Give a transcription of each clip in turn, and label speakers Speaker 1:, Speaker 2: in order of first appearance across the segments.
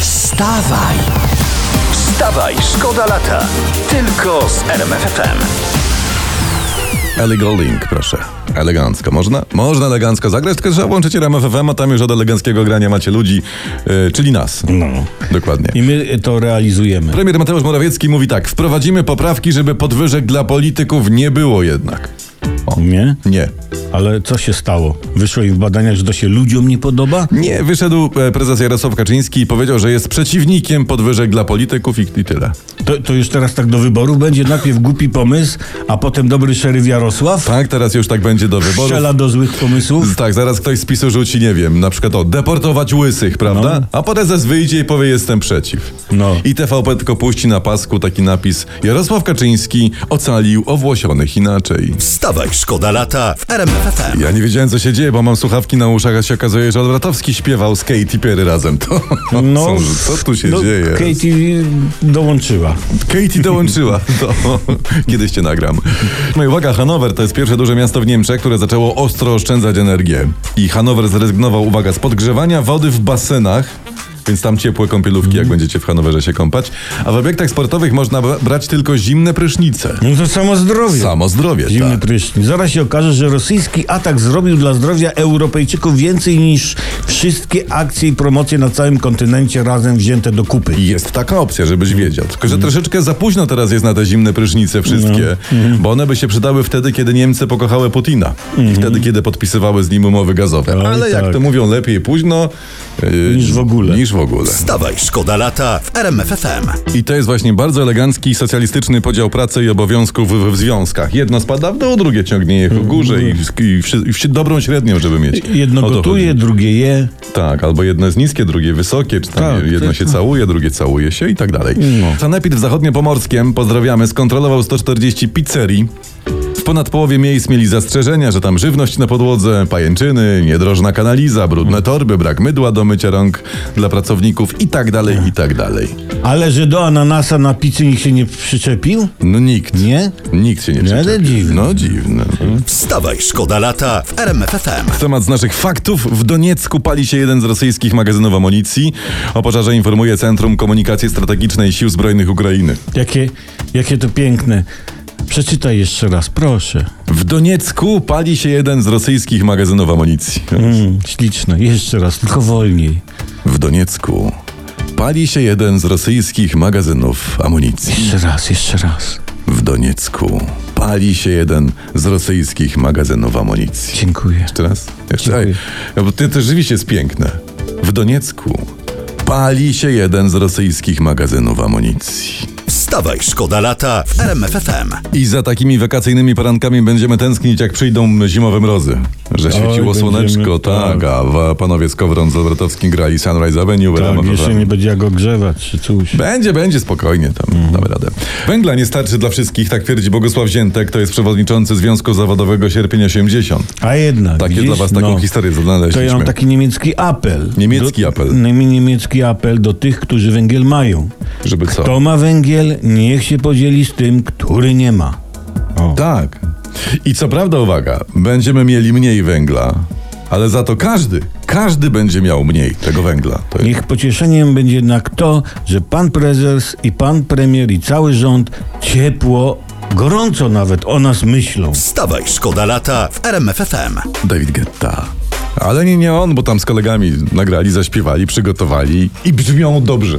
Speaker 1: Wstawaj! Wstawaj, szkoda lata! Tylko z RMFFM.
Speaker 2: Ellie Golding, proszę. Elegancko. Można? Można elegancko zagrać, tylko trzeba włączyć RMF FM, a tam już od eleganckiego grania macie ludzi, yy, czyli nas.
Speaker 3: No.
Speaker 2: Dokładnie.
Speaker 3: I my to realizujemy.
Speaker 2: Premier Mateusz Morawiecki mówi tak, wprowadzimy poprawki, żeby podwyżek dla polityków nie było jednak.
Speaker 3: Nie?
Speaker 2: Nie.
Speaker 3: Ale co się stało? Wyszło im w badaniach, że to się ludziom nie podoba?
Speaker 2: Nie, wyszedł e, prezes Jarosław Kaczyński i powiedział, że jest przeciwnikiem podwyżek dla polityków i, i tyle.
Speaker 3: To, to już teraz tak do wyborów będzie najpierw głupi pomysł, a potem dobry szeryf Jarosław?
Speaker 2: Tak, teraz już tak będzie do wyborów.
Speaker 3: Strzela do złych pomysłów?
Speaker 2: Tak, zaraz ktoś z PiSu rzuci, nie wiem, na przykład o, deportować łysych, prawda?
Speaker 3: No.
Speaker 2: A prezes wyjdzie i powie, jestem przeciw.
Speaker 3: No.
Speaker 2: I TVP tylko puści na pasku taki napis Jarosław Kaczyński ocalił owłosionych inaczej.
Speaker 1: Wstawaj, szkoda lata w RMFFM.
Speaker 2: Ja nie wiedziałem, co się dzieje, bo mam słuchawki na uszach, a się okazuje, że Odwratowski śpiewał z Katy Perry razem. To, co, co tu się
Speaker 3: no,
Speaker 2: dzieje?
Speaker 3: Katie dołączyła.
Speaker 2: Katie dołączyła. To, kiedyś cię nagram. No i uwaga, Hanower to jest pierwsze duże miasto w Niemczech, które zaczęło ostro oszczędzać energię. I Hanower zrezygnował, uwaga, z podgrzewania wody w basenach. Więc tam ciepłe kąpielówki, jak będziecie w Hanowerze się kąpać. A w obiektach sportowych można bra- brać tylko zimne prysznice.
Speaker 3: No to samo zdrowie.
Speaker 2: Samo zdrowie,
Speaker 3: Zimny
Speaker 2: tak.
Speaker 3: prysznic. Zaraz się okaże, że rosyjski atak zrobił dla zdrowia Europejczyków więcej niż wszystkie akcje i promocje na całym kontynencie razem wzięte do kupy.
Speaker 2: I Jest taka opcja, żebyś wiedział. Tylko,
Speaker 3: Mhm.
Speaker 2: że troszeczkę za późno teraz jest na te zimne prysznice wszystkie,
Speaker 3: No. Mhm.
Speaker 2: bo one by się przydały wtedy, kiedy Niemcy pokochały Putina i wtedy, kiedy podpisywały z nim umowy gazowe.
Speaker 3: Oj,
Speaker 2: Ale jak
Speaker 3: tak.
Speaker 2: to mówią, lepiej późno yy,
Speaker 3: Niż w ogóle.
Speaker 2: Niż w ogóle.
Speaker 1: Wstawaj, szkoda lata w RMFFM.
Speaker 2: I to jest właśnie bardzo elegancki, socjalistyczny podział pracy i obowiązków w, w związkach. Jedno spada w dół, drugie ciągnie je ku górze i, i, wszy- i wszy- dobrą średnią, żeby mieć.
Speaker 3: Mhm. Jedno
Speaker 2: O to
Speaker 3: gotuje, drugie je.
Speaker 2: Tak, albo jedno jest niskie, drugie wysokie, czy tam
Speaker 3: Tak,
Speaker 2: jedno
Speaker 3: tak,
Speaker 2: się
Speaker 3: tak.
Speaker 2: całuje, drugie całuje się i tak dalej.
Speaker 3: No.
Speaker 2: Sanepid w Zachodniopomorskiem, pozdrawiamy, skontrolował 140 pizzerii. W ponad połowie miejsc mieli zastrzeżenia, że tam żywność na podłodze, pajęczyny, niedrożna kanaliza, brudne torby, brak mydła do mycia rąk dla pracowników i tak dalej, i tak dalej.
Speaker 3: Ale że do ananasa na pizzy nikt się nie przyczepił?
Speaker 2: No nikt.
Speaker 3: Nie?
Speaker 2: Nikt się nie
Speaker 3: ale
Speaker 2: przyczepił.
Speaker 3: dziwne.
Speaker 2: No dziwne.
Speaker 1: Wstawaj, szkoda lata w RMFFM.
Speaker 2: Temat z naszych faktów. W Doniecku pali się jeden z rosyjskich magazynów amunicji. O pożarze informuje Centrum Komunikacji Strategicznej Sił Zbrojnych Ukrainy.
Speaker 3: Jakie, jakie to piękne. Przeczytaj jeszcze raz, proszę.
Speaker 2: W Doniecku pali się jeden z rosyjskich magazynów amunicji.
Speaker 3: Mm, śliczne, jeszcze raz, tylko wolniej.
Speaker 2: W Doniecku pali się jeden z rosyjskich magazynów amunicji.
Speaker 3: Jeszcze raz, jeszcze raz.
Speaker 2: W Doniecku pali się jeden z rosyjskich magazynów amunicji.
Speaker 3: Dziękuję.
Speaker 2: Jeszcze raz? Jeszcze ej,
Speaker 3: Dziękuję.
Speaker 2: no bo ty to rzeczywiście jest piękne. W Doniecku pali się jeden z rosyjskich magazynów amunicji.
Speaker 1: Wstawaj, szkoda lata w RMFFM.
Speaker 2: I za takimi wakacyjnymi porankami będziemy tęsknić, jak przyjdą zimowe mrozy. Że świeciło
Speaker 3: będziemy,
Speaker 2: słoneczko, tak,
Speaker 3: tak.
Speaker 2: a wa- panowie z Kowron z Lobratowskim grali Sunrise Avenue.
Speaker 3: Tak,
Speaker 2: brawo, no
Speaker 3: jeszcze
Speaker 2: brawo.
Speaker 3: nie będzie jak ogrzewać czy coś.
Speaker 2: Będzie, będzie, spokojnie tam,
Speaker 3: Mhm.
Speaker 2: damy radę. Węgla nie starczy dla wszystkich, tak twierdzi Bogusław Ziętek, to jest przewodniczący Związku Zawodowego Sierpień 80.
Speaker 3: A jednak.
Speaker 2: Takie
Speaker 3: widzisz? No.
Speaker 2: dla was taką historię
Speaker 3: To
Speaker 2: znaleźliśmy.
Speaker 3: ja mam taki niemiecki apel.
Speaker 2: Niemiecki apel.
Speaker 3: Nie- Niemiecki apel do tych, którzy węgiel mają.
Speaker 2: Żeby co?
Speaker 3: Kto ma węgiel, niech się podzieli z tym, który nie ma. O.
Speaker 2: Tak. I co prawda, uwaga, będziemy mieli mniej węgla, ale za to każdy, każdy będzie miał mniej tego węgla. To jest...
Speaker 3: Niech pocieszeniem będzie jednak to, że pan prezes i pan premier i cały rząd ciepło, gorąco nawet o nas myślą.
Speaker 1: Wstawaj, szkoda lata w RMFFM.
Speaker 2: David Guetta. Ale nie, nie on, bo tam z kolegami nagrali, zaśpiewali, przygotowali i brzmią dobrze.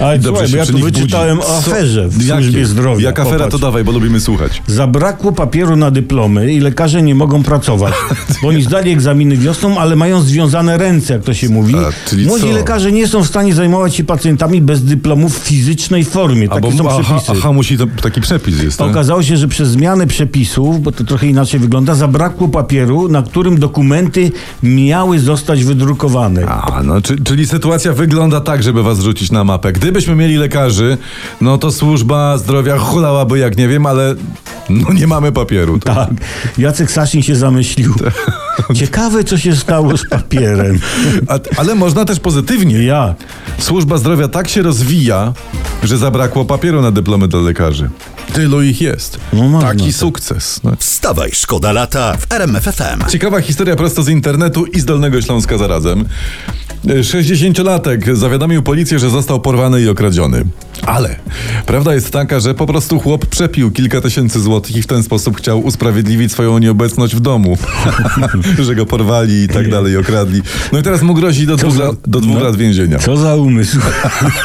Speaker 3: Ale
Speaker 2: Dobrze
Speaker 3: słuchaj,
Speaker 2: się
Speaker 3: bo ja
Speaker 2: przy
Speaker 3: tu
Speaker 2: nich
Speaker 3: wyczytałem
Speaker 2: budzi.
Speaker 3: o
Speaker 2: Co-
Speaker 3: aferze w
Speaker 2: Jakie?
Speaker 3: służbie zdrowia.
Speaker 2: Jak afera, to
Speaker 3: Popatrz.
Speaker 2: dawaj, bo lubimy słuchać.
Speaker 3: Zabrakło papieru na dyplomy i lekarze nie mogą pracować, bo oni zdali egzaminy wiosną, ale mają związane ręce, jak to się mówi.
Speaker 2: A, czyli
Speaker 3: Młodzi
Speaker 2: co?
Speaker 3: lekarze nie są w stanie zajmować się pacjentami bez dyplomu w fizycznej formie. Takie są przepisy.
Speaker 2: aha, aha, musi to, taki przepis jest. tak?
Speaker 3: Okazało się, że przez zmianę przepisów, bo to trochę inaczej wygląda, zabrakło papieru, na którym dokumenty miały zostać wydrukowane.
Speaker 2: A, no, czy, czyli sytuacja wygląda tak, żeby was rzucić na mapę. Gdybyśmy mieli lekarzy, no to służba zdrowia hulałaby, jak nie wiem, ale no nie mamy papieru.
Speaker 3: Tak. Jacek Sasin się zamyślił.
Speaker 2: Tak.
Speaker 3: Ciekawe, co się stało z papierem.
Speaker 2: A, ale można też pozytywnie.
Speaker 3: Ja.
Speaker 2: Służba zdrowia tak się rozwija, że zabrakło papieru na dyplomy dla lekarzy. Tylu ich jest.
Speaker 3: No można
Speaker 2: Taki
Speaker 3: tak.
Speaker 2: sukces. No.
Speaker 1: Wstawaj, szkoda lata w RMFFM.
Speaker 2: Ciekawa historia prosto z internetu i z Dolnego Śląska zarazem. 60-latek zawiadomił policję, że został porwany i okradziony. Ale prawda jest taka, że po prostu chłop przepił kilka tysięcy złotych i w ten sposób chciał usprawiedliwić swoją nieobecność w domu. że go porwali i tak dalej, okradli. No i teraz mu grozi do dwóch,
Speaker 3: za-
Speaker 2: lat, do dwóch
Speaker 3: no.
Speaker 2: lat więzienia.
Speaker 3: Co za umysł.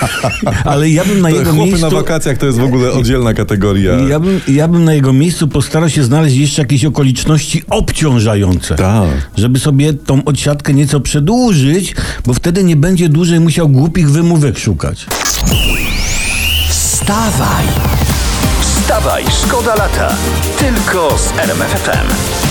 Speaker 3: Ale ja bym na jego
Speaker 2: Chłopy
Speaker 3: miejscu...
Speaker 2: na wakacjach to jest w ogóle oddzielna kategoria.
Speaker 3: Ja bym, ja bym na jego miejscu postarał się znaleźć jeszcze jakieś okoliczności obciążające.
Speaker 2: Tak.
Speaker 3: Żeby sobie tą odsiadkę nieco przedłużyć, bo wtedy nie będzie dłużej musiał głupich wymówek szukać.
Speaker 4: Wstawaj! Wstawaj, szkoda lata! Tylko z RMFFM.